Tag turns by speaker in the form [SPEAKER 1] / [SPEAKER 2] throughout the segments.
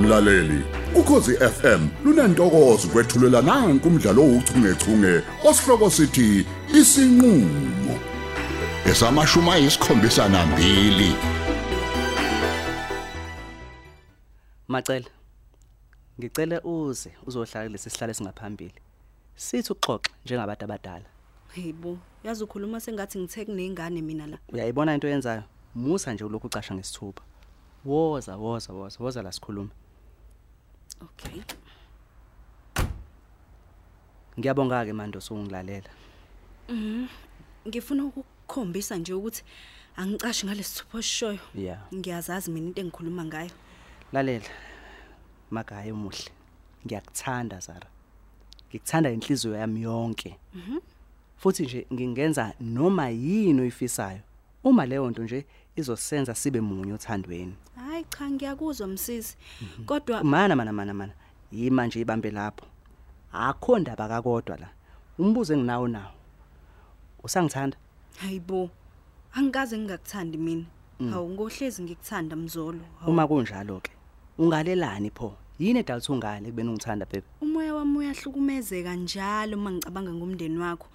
[SPEAKER 1] mlaleli ukhosi FM lunantokozo kwethulela nanku umdlalo ouchungechunge osihloko sithi isinqulo esamashuma isikhombisa nambili
[SPEAKER 2] Macela. Ngicela uze uzohlala kulesi sihlalo singaphambili. Sithi uxoxe njengabantu abadala.
[SPEAKER 3] Hayibo, yazi ukhuluma sengathi ngithe kunengane mina la.
[SPEAKER 2] Uyayibona into oyenzayo? Musa nje ulokhu ucasha ngesithupa. Woza, woza, woza, woza la sikhuluma.
[SPEAKER 3] Okay.
[SPEAKER 2] Ngiyabonga ke manje usungilalela.
[SPEAKER 3] Ngifuna ukukukhombisa nje ukuthi angicashi ngalesithupho oshoyo.
[SPEAKER 2] Yeah.
[SPEAKER 3] Ngiyazazi mina into engikhuluma ngayo.
[SPEAKER 2] Lalela. Magaya omuhle. Ngiyakuthanda Zara. Ngikuthanda inhliziyo yami yonke. Mhm. Futhi nje ngingenza noma yini oyifisayo. Uma leyo nto nje izosenza sibe munye othandweni.
[SPEAKER 3] Hayi cha ngiyakuzwa msisi.
[SPEAKER 2] Mhm.
[SPEAKER 3] Kodwa
[SPEAKER 2] mana mana mana mana yima nje ibambe lapho akho ndaba kakodwa la umbuzo enginawo nawo usangithanda
[SPEAKER 3] hayibo. Angikaze ngingakuthandi mina.
[SPEAKER 2] Mm.
[SPEAKER 3] Hawu ngohlezi ngikuthanda mzolo. Hawu,
[SPEAKER 2] uma kunjalo ke ungalelani pho yini edalisa ungale kubeni ungithanda bebe
[SPEAKER 3] umoya wami uyahlukumezeka njalo uma ngicabanga ngomndeni wakho.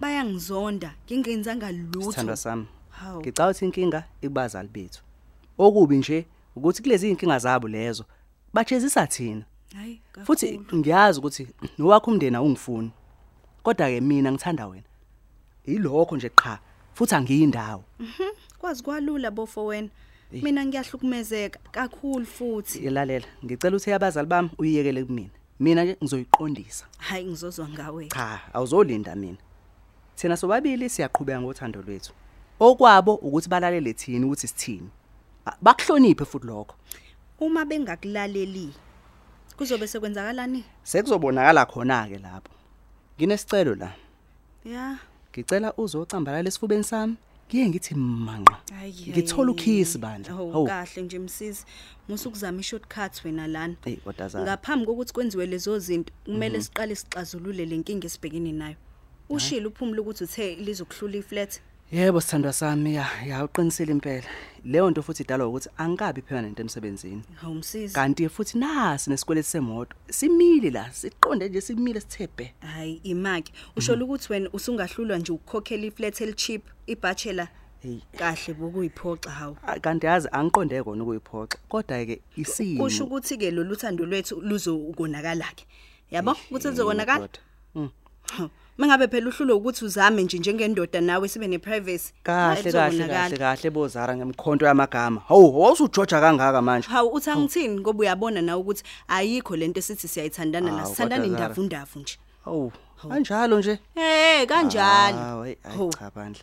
[SPEAKER 3] Bayangizonda, ngingenzanga
[SPEAKER 2] Mm. sithandwa
[SPEAKER 3] lutho.
[SPEAKER 2] sami
[SPEAKER 3] Hawu.
[SPEAKER 2] ngicabanga ukuthi inkinga ikubazali bethu okubi nje ukuthi kulezi inkinga zabo lezo bachezisa thina
[SPEAKER 3] Hayi.
[SPEAKER 2] futhi ngiyazi ukuthi nowakho umndeni awungifuni kodwa ke mina ngithanda wena yilokho nje qha futhi angiyindawo
[SPEAKER 3] kwazi kwalula bofo wena.
[SPEAKER 2] Eh.
[SPEAKER 3] Mina ngiyahlukumezeka kakhulu futhi.
[SPEAKER 2] Yelalela, ngicela uthe abazali bami uyiyekele kumina. Mina nje ngizoyiqondisa.
[SPEAKER 3] Hayi ngizozwa ngawe.
[SPEAKER 2] Cha, awuzolinda mina. Thina sobabili siyaqhubeka ngothando lwethu. Okwabo ukuthi balalele thini ukuthi sithini. Ba- Bakuhloniphe futhi lokho.
[SPEAKER 3] Uma bengakulaleli kuzobe sekwenzakalani?
[SPEAKER 2] Sekuzobonakala khona ke lapho. Nginesicelo la.
[SPEAKER 3] Ya.
[SPEAKER 2] Ngicela uzocambalala esifubeni sami. Ngiye ngithi manqa.
[SPEAKER 3] Hayi.
[SPEAKER 2] Ngithola ukhisi bandla.
[SPEAKER 3] Oh kahle nje msisi. Musu kuzama ishortcut wena lana.
[SPEAKER 2] Hey, kodazana.
[SPEAKER 3] Ngaphambi kokuthi kwenziwe lezo zinto, kumele
[SPEAKER 2] Mhm.
[SPEAKER 3] siqale sixazulule lenkingi esibhekene nayo. Ushilo uphumule ukuthi uthe lizokuhlula iflat.
[SPEAKER 2] Yebo sithandwa sami, ya, ya uqinisile impela. Leyo nto futhi idalwa ukuthi angikabi permanent emsebenzini.
[SPEAKER 3] Hawu msisi.
[SPEAKER 2] kanti futhi nasi nesikweletu semoto simile la siqonde nje simile sithebhe
[SPEAKER 3] Hayi imaki. Usho ukuthi wena usungahlulwa nje ukukhokhela iflat elchip, ibachelor.
[SPEAKER 2] Hey.
[SPEAKER 3] Kahle bokuyiphoxa hawu.
[SPEAKER 2] Ah, kanti yazi angiqonde kona ukuyiphoxa kodwa ke isimo
[SPEAKER 3] kusho ukuthi ke lolu thando lwethu luzokonakala ke yabo
[SPEAKER 2] Eh,
[SPEAKER 3] ukuthi lizokonakala
[SPEAKER 2] Ndoda. Mm.
[SPEAKER 3] mangabe phela uhlulo ukuthi uzame nje njengendoda nawe sibe neprivacy
[SPEAKER 2] kahle kahle kahle kahle bozara ngemkhonto yamagama hawu wawusujoja kangaka manje
[SPEAKER 3] hawu uthi angithini ngoba uyabona nawe ukuthi ayikho lento esithi siyayithandana la
[SPEAKER 2] Hawu,
[SPEAKER 3] sithandana
[SPEAKER 2] kodwa Zara.
[SPEAKER 3] indavundavu nje
[SPEAKER 2] hawu kanjalo nje
[SPEAKER 3] eh kanjalo
[SPEAKER 2] hayi
[SPEAKER 3] Ho.
[SPEAKER 2] cha bandla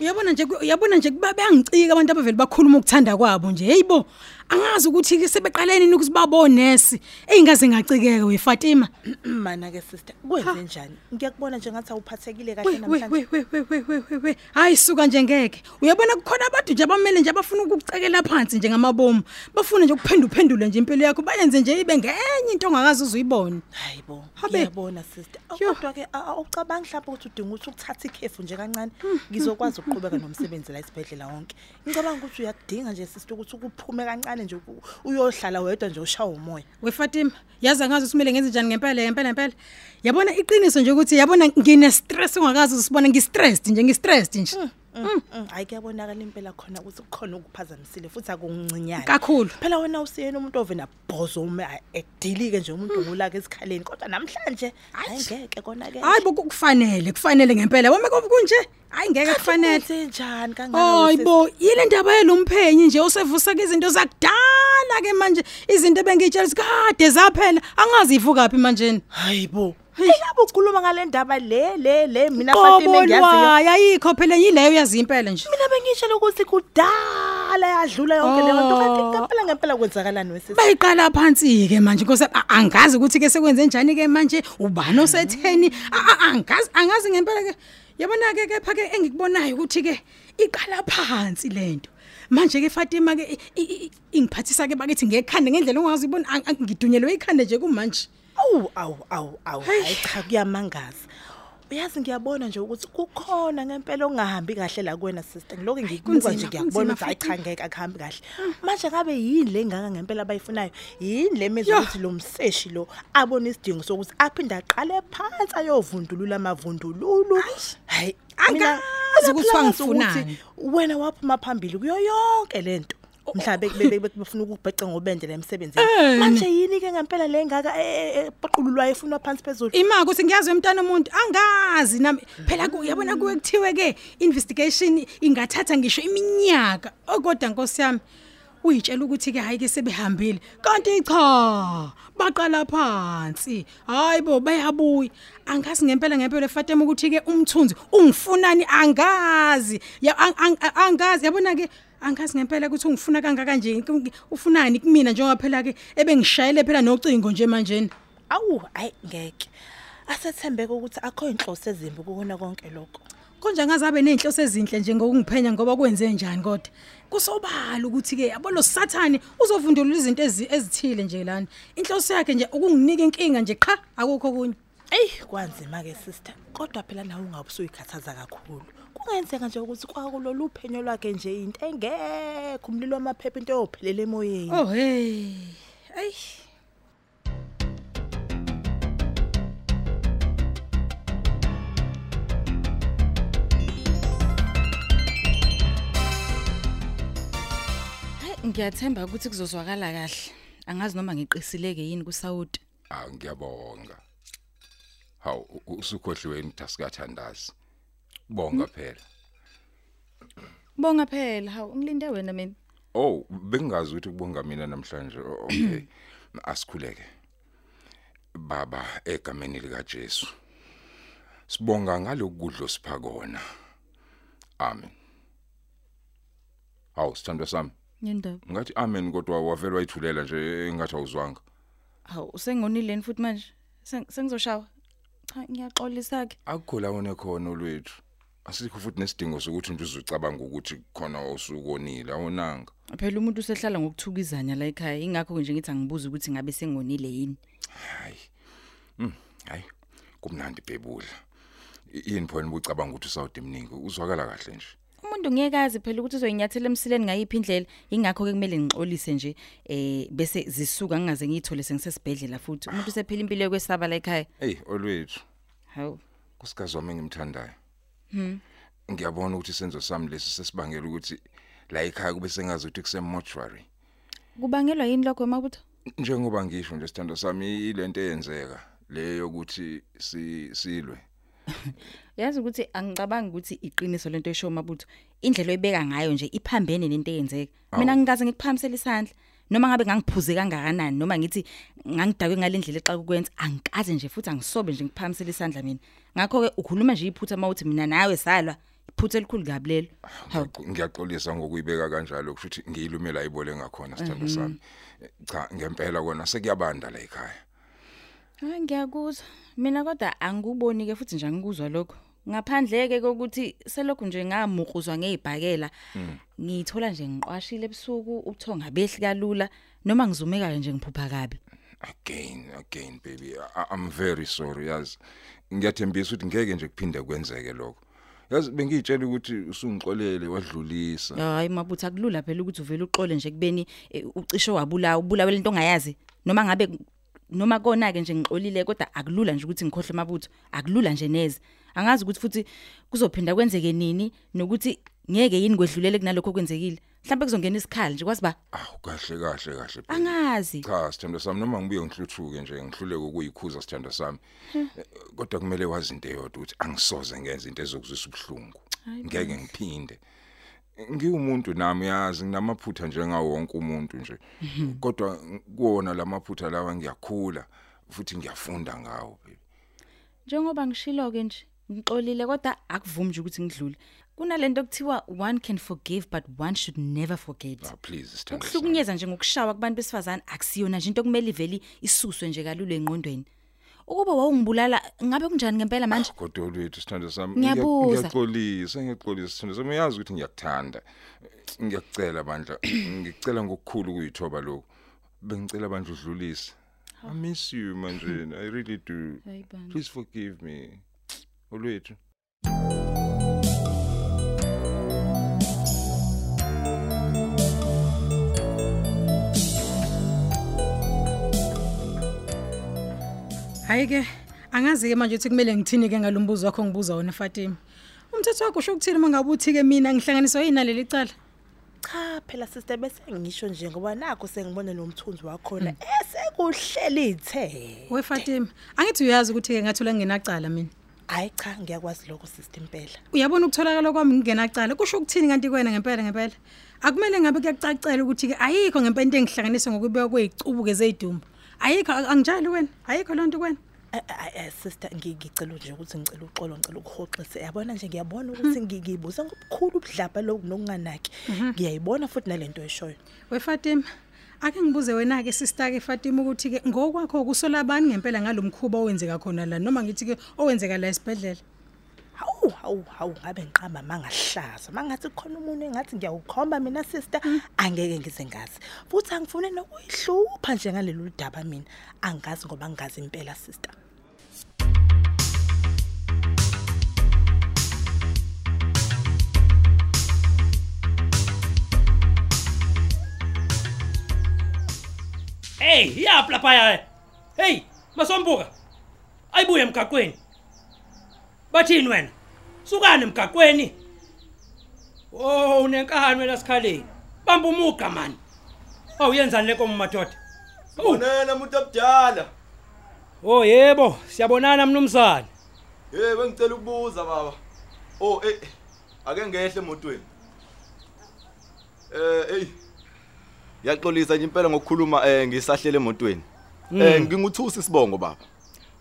[SPEAKER 4] uyabona nje ku- uyabona nje kuba bayangicika abantu abavele bakhuluma ukuthanda kwabo nje heyibo angazi ukuthi ke sebeqaleni nini ukuthi babonesi eyingaze ngacikeke wefatima
[SPEAKER 5] mana ke sister kwenze njani ngiyakubona nje ngathi awuphathekile kahle namhlanje
[SPEAKER 4] we hayi suka nje ngeke uyabona kukhona abantu nje abamele nje abafuna ukukucekela phansi njengamabomu bafuna nje ukuphenduphendula nje impilo yakho bayenze nje ibe ngenye into ongakazi uzuyibone
[SPEAKER 5] hayi bo
[SPEAKER 4] Habe.
[SPEAKER 5] ngiyabona sister
[SPEAKER 4] Yo.
[SPEAKER 5] kodwa ke awucabangi mhlawumbe ukuthi udinga ukuthi ukuthatha ikhefu nje kancane
[SPEAKER 4] Mm,
[SPEAKER 5] ngizokwazi ukuqhubeka nomsebenzi la esibhedlela wonke ngicabanga ukuthi uyakudinga nje sister ukuthi ukuphume kancane nje u- uyohlala wedwa nje ushawe umoya
[SPEAKER 4] wefatima yazi angazi ukuthi kumele ngenze njani ngempela ngempela ngempela yabona iqiniso nje ukuthi yabona ngine-stress ongakazi usibona ngi-stressed nje ngi-stressed nje
[SPEAKER 5] Mm, mm, hayi kuyabonakala impela khona ukuthi kukhona ukuphazamisile futhi akuncinyane
[SPEAKER 4] Kakhulu.
[SPEAKER 5] phela wena usiyena umuntu ovena bhozo ume edilike nje
[SPEAKER 4] Mm.
[SPEAKER 5] umuntu ngolaka esikhaleni kodwa namhlanje hayi ngeke kona ke
[SPEAKER 4] hayi bo ku- kufanele kufanele ngempela wome kunje hayi ngeke kufanele
[SPEAKER 5] senjani
[SPEAKER 4] hayi
[SPEAKER 5] kangaka
[SPEAKER 4] bo yile ndaba yelo mphenyi nje osevuseka izinto zakudala ke manje izinto ebengiyitshela ukuthi kade zaphela angazi yivukaphi manjeni
[SPEAKER 5] hayi bo eyabe ukhuluma ngale ndaba le le le mina Fatima ngiyaziyo
[SPEAKER 4] qobolwayo ayikho phela yileyo yazi impela nje
[SPEAKER 5] mina bengishela ukuthi kudala yadlula yonke leyo nto kanti
[SPEAKER 4] Oh.
[SPEAKER 5] ngempela ngempela kwenzakalani wesisi
[SPEAKER 4] bayiqala phansi-ke manje nkosi yami. A- angazi ukuthi-ke sekwenze njani-ke manje ubani osetheni A- a- angazi angazi ngempela-ke yabona-ke kepha-ke engikubonayo ukuthi-ke iqala phansi le nto manje-ke fatima-ke i- i- i- ingiphathisa-ke bakithi ngekhande ngendlela ongazi ibona ngidunyelwe ikhande nje kumanje
[SPEAKER 5] awu awu awu awu hayi cha kuyamangaza uyazi ngiyabona nje ukuthi kukhona ngempela ongahambi kahle la kuwena sister ngiloke ngikubuka
[SPEAKER 6] kunzima,
[SPEAKER 5] nje
[SPEAKER 6] kunzima
[SPEAKER 5] ngiyakubona ukuthi hayi
[SPEAKER 6] futhi. Mm.
[SPEAKER 5] cha ngeke akuhambi kahle manje ngabe yini le ngaka ngempela abayifunayo yini le mezwa
[SPEAKER 6] Yho.
[SPEAKER 5] ukuthi lo mseshi lo abone isidingo sokuthi aphinde aqale phansi ayovundulula amavundululu hayi mina
[SPEAKER 6] Angazi ukuthi
[SPEAKER 5] ngiyapulaza
[SPEAKER 6] wangifunani. Oh,
[SPEAKER 5] ukuthi wena waphuma phambili kuyo yonke lento mhlabe befuna ukubheca ngobende la emsebenzini
[SPEAKER 6] Eh.
[SPEAKER 5] manje yini ke ngempela le ngaka eh, eqululwayo efunwa phansi phezulu
[SPEAKER 6] Ima ukuthi ngiyazi umntana omuntu angazi nami phela ku yabona kuwe kuthiwe ke investigation ingathatha ngisho iminyaka okodwa nkosi yami uyitshela ukuthi ke hayi ke sebehambile kanti cha baqala phansi hayibo bayabuya angazi ngempela ngempela Fatima ukuthi ke umthunzi ungifunani angazi Ya- ang- ang- angazi yabona ke angazi ngempela ukuthi ungifuna kangaka nje ufunani kumina njengoba phela ke ebengishayele phela nocingo nje manje
[SPEAKER 5] awu hayi ngeke asethembeke ukuthi akho inhloso ezimbi kukona konke lokho
[SPEAKER 6] konje angazabe nenhloso ezinhle nje ngokungiphenya ngoba kwenze njani kodwa kusobala ukuthi ke yabona sathane uzovundulula izinto ezi- ezithile nje lana inhloso yakhe nje ukunginika inkinga nje qha akukho kunye
[SPEAKER 5] eyi kwanzima ke sister kodwa phela nawe ungabe usuyikhathaza kakhulu kungenzeka nje ukuthi kwakulolu phenyo lwakhe nje into engekho umlilo wamaphepha into eyophelela emoyeni
[SPEAKER 6] oh hey ayi
[SPEAKER 4] Hayi ngiyathemba ukuthi kuzozwakala kahle. Angazi noma ngiqisileke yini kuSaudi.
[SPEAKER 7] Ah ngiyabonga. Haw u- usukhohliwe intasikathandazi. Bonga phela.
[SPEAKER 4] Bonga phela, hawu ngilinde wena mina.
[SPEAKER 7] Oh bengazi ukuthi kubonga mina namhlanje. O- Okay. Asikhuleke. Baba egameni lika Jesu. Sibonga ngalokudlo sipha kona. Amen. Haw sithandwa sami.
[SPEAKER 4] Yindaba.
[SPEAKER 7] Ngathi amen kodwa wavela wayithulela nje engathi awuzwanga.
[SPEAKER 4] Hawu usengonile yini futhi manje? Seng- Sengizoshawa. Cha ngiyaxolisa ke.
[SPEAKER 7] akukho la wona khona olwethu asikho futhi nesidingo sokuthi nje uzucabanga ukuthi khona osukonile awonanga
[SPEAKER 4] Phela umuntu usehlala ngokuthukizana la ekhaya, ingakho nje ngithi angibuza ukuthi ngabe sengonile yini.
[SPEAKER 7] hayi mm, hayi kumnandi bebudla I- yini phone ubucabanga ukuthi usawude emningi uzwakala kahle nje
[SPEAKER 4] Umuntu ngeke azi phela ukuthi uzoyinyathela emsileni ngayiphi indlela, ingakho ke kumele ngixolise nje eh bese zisuka ngingaze ngiyithole sengisesibhedlela futhi. Umuntu usephila impilo yokwesaba la ekhaya.
[SPEAKER 7] hey olwethu
[SPEAKER 4] Hawu.
[SPEAKER 7] kusikazi wami engimthandayo hm ngiyabona ukuthi isenzo sami lesi sesibangela ukuthi la ekhaya kube sengazi ukuthi kusemotuary
[SPEAKER 4] Kubangelwa yini lokho emabutho?
[SPEAKER 7] njengoba ngisho nje sithando sami ilento eyenzeka leyo ukuthi si- silwe
[SPEAKER 4] yazi ukuthi angicabangi ukuthi iqiniso lento esho mabutho indlela oyibeka ngayo nje iphambene nento eyenzeka mina ngikaze ngikuphamisele isandla noma ngabe ngangiphuze kangakanani noma ngithi ngangidakwe ngalendlela xa ukwenza angikaze nje futhi angisobe nje ngiphamisele isandla mina ngakho ke ukhuluma nje iphutha mawuthi mina nawe salwa iphutha elikhulu kabi lelo hawu
[SPEAKER 7] Ngiyaxo- ngiyaxolisa ngokuyibeka kanjalo kusho ukuthi ngiyilumela ayibole ngakhona sithando sami cha ngempela kona sekuyabanda la ekhaya
[SPEAKER 4] hayi ngiyakuzwa mina kodwa angikuboni ke futhi nje angikuzwa lokho ngaphandle ke kokuthi selokhu nje ngamukuzwa ngezibhakela ngithola nje ngiqwashile ebusuku ubuthonga behli kalula noma ngizumekayo nje ngiphupha kabi
[SPEAKER 7] again again baby I, i'm very sorry yazi ngiyathembisa ukuthi ngeke nje kuphinde kwenzeke lokho yazi bengiyitshela ukuthi usungixolele wadlulisa
[SPEAKER 4] hayi mabutho akulula phela ukuthi uvele uxole nje kubeni eh, ucishe wabulawa ubulawe lento ongayazi noma ngabe noma kona ke nje ngixolile kodwa akulula nje ukuthi ngikhohle mabutho akulula nje neze angazi ukuthi futhi kuzophinda kwenzeke nini nokuthi ngeke yini kwedlulele kunalokho kwenzekile mhlawumbe kuzongena isikhali nje kwazi ba
[SPEAKER 7] aw kahle kahle kahle baby.
[SPEAKER 4] angazi
[SPEAKER 7] cha sithando sami noma ngibuye ngihluthuke nje ngihluleke ukuyikhuza sithando sami Eh, kodwa kumele wazi into eyodwa ukuthi angisoze ngenze into ezokuzwisa ubuhlungu ngeke ngiphinde ngiwumuntu nami yazi nginamaphutha njengawo wonke umuntu nje kodwa kuona lamaphutha lawa ngiyakhula futhi ngiyafunda ngawo baby
[SPEAKER 4] njengoba ngishilo ke nje ngixolile kodwa akuvumi nje ukuthi ngidlule kunalento okuthiwa one can forgive but one should never forget
[SPEAKER 7] ah please sithando sami
[SPEAKER 4] ukuhlukunyezwa nje ngokushawa kubantu besifazane akusiyona nje into okumele iveli isuswe nje kalulu engqondweni ukuba wawungibulala ngabe kunjani ngempela manje
[SPEAKER 7] kodwa lwethu sithando sami ngiya-
[SPEAKER 4] Ngiyabuza.
[SPEAKER 7] ngiyaxolisa ngiyaxolisa sithando sami uyazi ukuthi ngiyakuthanda ngiyacela bandla ngicela ngokukhulu kuyithoba lokho bengicela bandla udlulise I miss you manjena. I really do.
[SPEAKER 8] Hayi bandla.
[SPEAKER 7] Please forgive me. Olwethu.
[SPEAKER 4] Hayi ke angazi ke manje ukuthi kumele ngithini ke ngalombuzo wakho ngibuza wona Fatima. Umthetho wakho usho ukuthini mangabuthi ke mina ngihlanganiswa yinale licala?
[SPEAKER 5] cha phela sister bese ngisho nje ngoba nakho sengibona lo mthunzi wakhona esekuhlela ithe
[SPEAKER 4] We Fatima, angithi uyazi ukuthi ke ngathula ngingenacala mina.
[SPEAKER 5] hayi cha ngiyakwazi lokho sister impela
[SPEAKER 4] Uyabona ukutholakala kwami ngingenacala kusho ukuthini kanti kwena ngempela ngempela? Akumele ngabe kuyacacela ukuthi ke ayikho ngempela into engihlanganiswa ngokubekwa kwezicubuke zezidumbu. Ayikho angijali wena, ayikho lonto kwena.
[SPEAKER 5] A- a- a- sister ngi- ngicela nje ukuthi ngicela uxolo ngicela ukuhoxise yabona nje ngiyabona ukuthi ngi- ngiyibuza ngobukhulu ubudlabha lokhu nokunganaki ngiyayibona futhi nalento eshoyo
[SPEAKER 4] We Fatima, ake ngibuze wena ke sister ke Fatima ukuthi ke ngokwakho kusola abantu ngempela ngalomkhuba owenzeka khona la noma ngithi ke owenzeka la esibedlela.
[SPEAKER 5] hawu hawu hawu ngabe ngiqamba mangahlaza mangathi khona umuntu engathi ngiyawukhomba mina sister angeke ngize ngazi futhi angifune nokuyihlupha njengalolu daba mina angazi ngoba ngingazi impela sister
[SPEAKER 9] Hey, iyapla phaya. e. Hey, masombuka. Ayibuye emgaqweni. Bathini wena? Sukani emgaqweni. Oh, unenkani wena sikhaleni. Bamba umuga man. Awuyenzani lenkomo madoda? Oh,
[SPEAKER 10] Bonana umuntu obudala.
[SPEAKER 9] oh yebo, siyabonana mnumzane.
[SPEAKER 10] Hey bengicela ukubuza baba. Oh eh ake ngehle emotweni. Eh hey. Yaxolisa nje impela ngokukhuluma eh ngisahlele emotweni.
[SPEAKER 9] Hmm.
[SPEAKER 10] Eh nginguthusi sibongo baba.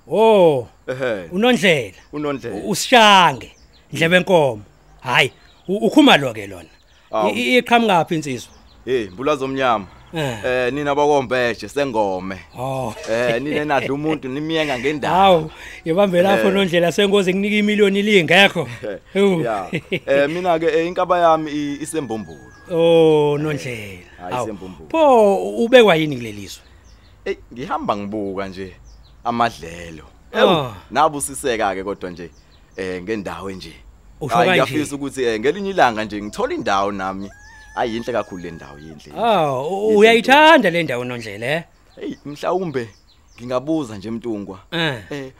[SPEAKER 9] Oh,
[SPEAKER 10] Ehhe
[SPEAKER 9] unondlela.
[SPEAKER 10] unondlela.
[SPEAKER 9] Usishange. Ndlebe enkomo. Hayi, u- ukhuma lo ke lona.
[SPEAKER 10] Awu.
[SPEAKER 9] I- i- Iqhamuka phi insizwa?
[SPEAKER 10] Hey mbulazo omnyama.
[SPEAKER 9] Eh.
[SPEAKER 10] Eh nina bakombheje sengome.
[SPEAKER 9] Oh.
[SPEAKER 10] Eh nina nadla umuntu nimiyenga ngendawo.
[SPEAKER 9] Hawu, yebambe
[SPEAKER 10] Eh.
[SPEAKER 9] lapho nondlela sengoze nginike imiliyoni lingekho. Ewu.
[SPEAKER 10] Yeah. Eh mina ke eh, inkaba yami i- isembombulo.
[SPEAKER 9] Oh, nondlela.
[SPEAKER 10] Hayi,
[SPEAKER 9] Hawu.
[SPEAKER 10] sembumbulo.
[SPEAKER 9] Pho ubekwa yini kulelizwe?
[SPEAKER 10] Ey ngihamba ngibuka nje amadlelo.
[SPEAKER 9] Oh.
[SPEAKER 10] Ewu nabusiseka ke kodwa nje eh ngendawo nje.
[SPEAKER 9] Usho
[SPEAKER 10] Hayi,
[SPEAKER 9] kanje?
[SPEAKER 10] ngiyafisa ukuthi eh ngelinye ilanga nje ngithola indawo nami. Ayinhle kakhulu le ndawo yinhle.
[SPEAKER 9] Ah,
[SPEAKER 10] Yinhle.
[SPEAKER 9] uyayithanda le ndawo nondlela eh?
[SPEAKER 10] Hey mhlawumbe ngingabuza nje mntungwa.
[SPEAKER 9] Eh.
[SPEAKER 10] Eh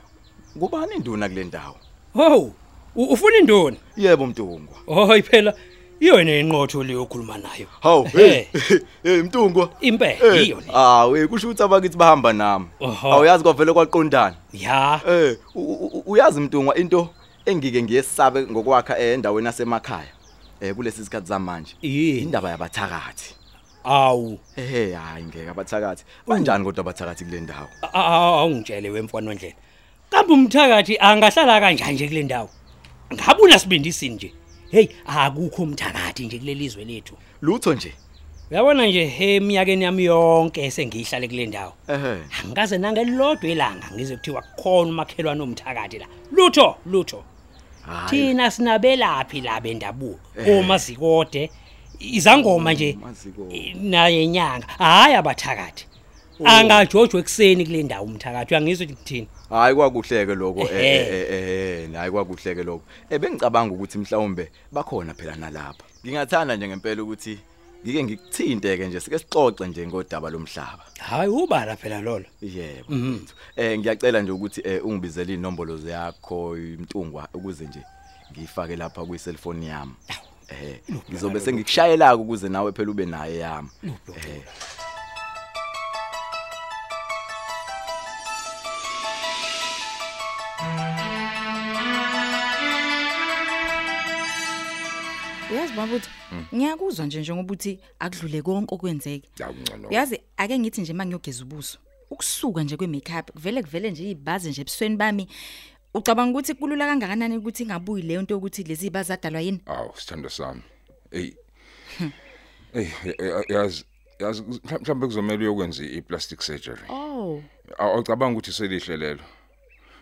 [SPEAKER 10] kubani induna kule ndawo?
[SPEAKER 9] Oh, u- ufuna indoni?
[SPEAKER 10] Yebo mntungwa.
[SPEAKER 9] Hoyi phela, iyona inqotho le yokhuluma nayo.
[SPEAKER 10] Hawu hey. Hey mntungwa.
[SPEAKER 9] Impela
[SPEAKER 10] Eh,
[SPEAKER 9] Eh. iyo le.
[SPEAKER 10] Ah, we kusho ukuthi abakithi bahamba nami.
[SPEAKER 9] Oho.
[SPEAKER 10] Awuyazi kwavele kwaqondana.
[SPEAKER 9] Ya.
[SPEAKER 10] Eh, u- u- uyazi mntungwa into engike ngiyesabe ngokwakha eh, endaweni yasemakhaya. Eh kulesi sikhathi zamanje.
[SPEAKER 9] Yini?
[SPEAKER 10] Indaba yabathakathi.
[SPEAKER 9] Awu.
[SPEAKER 10] Ehhe hayi ngeke abathakathi. Banjani kodwa abathakathi kule ndawo?
[SPEAKER 9] A- a- a- Awungitshele wemfana nondlela. Kambe umthakathi angahlala kanjani nje kule ndawo? Ngabula sibindisini nje. Hey, akukho umthakathi nje kulelizwe lethu.
[SPEAKER 10] Lutho nje.
[SPEAKER 9] Uyabona nje eminyakeni yami yonke sengiyihlale kule ndawo.
[SPEAKER 10] Ehhe.
[SPEAKER 9] Angikaze nangelilodwa ilanga ngize kuthiwa khona umakhelwane omthakathi la. Lutho, lutho. Thina sinabelaphi la bendabuko. Omazikode izangoma nje
[SPEAKER 10] Omazikode.
[SPEAKER 9] i- naye inyanga. Hayi abathakathi. Angajojwe ekseni kule ndawo umthakathi. Uyangizwa ukuthi kuthini?
[SPEAKER 10] Hayi kwakuhleke lokho eh
[SPEAKER 9] Ehhe.
[SPEAKER 10] eh, eh eh hayi kwakuhleke lokho. Eh bengicabanga ukuthi mhlawumbe bakhona phela nalapha. Ngingathanda nje ngempela ukuthi ngike ngikuthinteke nje sike sixoxe nje ngodaba lomhlaba.
[SPEAKER 9] Hayi ubala phela lolo.
[SPEAKER 10] Yebo. mfethu. Eh ngiyacela nje ukuthi eh ungibizele inombolo zakho imtungwa ukuze nje ngifake lapha kwi cellphone yami. Eh ngizobe sengikushayela ukuze nawe phela ube naye yami. Eh
[SPEAKER 8] Uyazi babutho, ngiyakuzwa nje njengoba uthi akudlule konke okwenzeke.
[SPEAKER 7] Awungcono.
[SPEAKER 8] Uyazi ake ngithi nje mangiyogeza ubuso. Ukusuka nje kwemakeup kuvele kuvele nje ibazi nje ebusweni bami. Ucabanga ukuthi kulula kangakanani ukuthi ingabuyi leyo nto ukuthi lezi ibazi adalwa yini?
[SPEAKER 7] Aw, sithando sami. Ey. Ey, yazi yazi mhlambe kuzomela uyokwenza i-plastic surgery.
[SPEAKER 8] Oh,
[SPEAKER 7] Awucabanga ukuthi selihlelelo.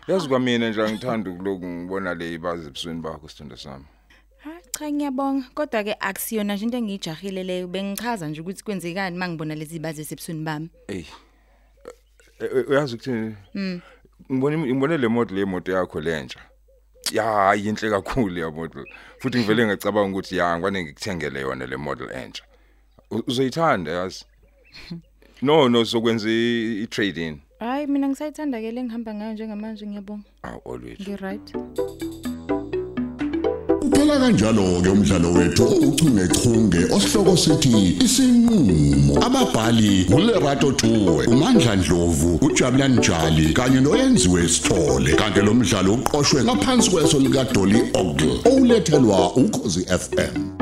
[SPEAKER 7] Yazi kwamina nje angithandi ukuloku ngibona le ibazi ebusweni bakho sithando sami.
[SPEAKER 8] hayi cha ngiyabonga. Kodwa ke akusiyona nje into engijahile leyo. Bengichaza nje ukuthi kwenzekani mangibona lezi ibazi esebusweni bami.
[SPEAKER 7] Ey. Eh, eh, uyazi ukuthini ngibona imi- ngibone le model yemoto yakho lentsha ya yinhle kakhulu ya model futhi ngivele ngacabanga ukuthi ya ngwane ngikuthengele yona le model entsha U- uzoyithanda yazi no no sokwenza i trade in
[SPEAKER 8] Hayi mina ngisayithanda ke lengihamba ngayo njengamanje ngiyabonga.
[SPEAKER 7] aw always
[SPEAKER 8] Ngiright.
[SPEAKER 1] Kuphela kanjalo ke umdlalo wethu uchungechunge osihloko sithi isinqulo. Ababhali uLerato Tuwe, uMandla Dlovu, uJabulani Njali kanye noyenziwe Sithole. Kanti lo mdlalo uqoqwwe ngaphansi kweso lika Dolly Ogle. Olethelwa ukhozi FM.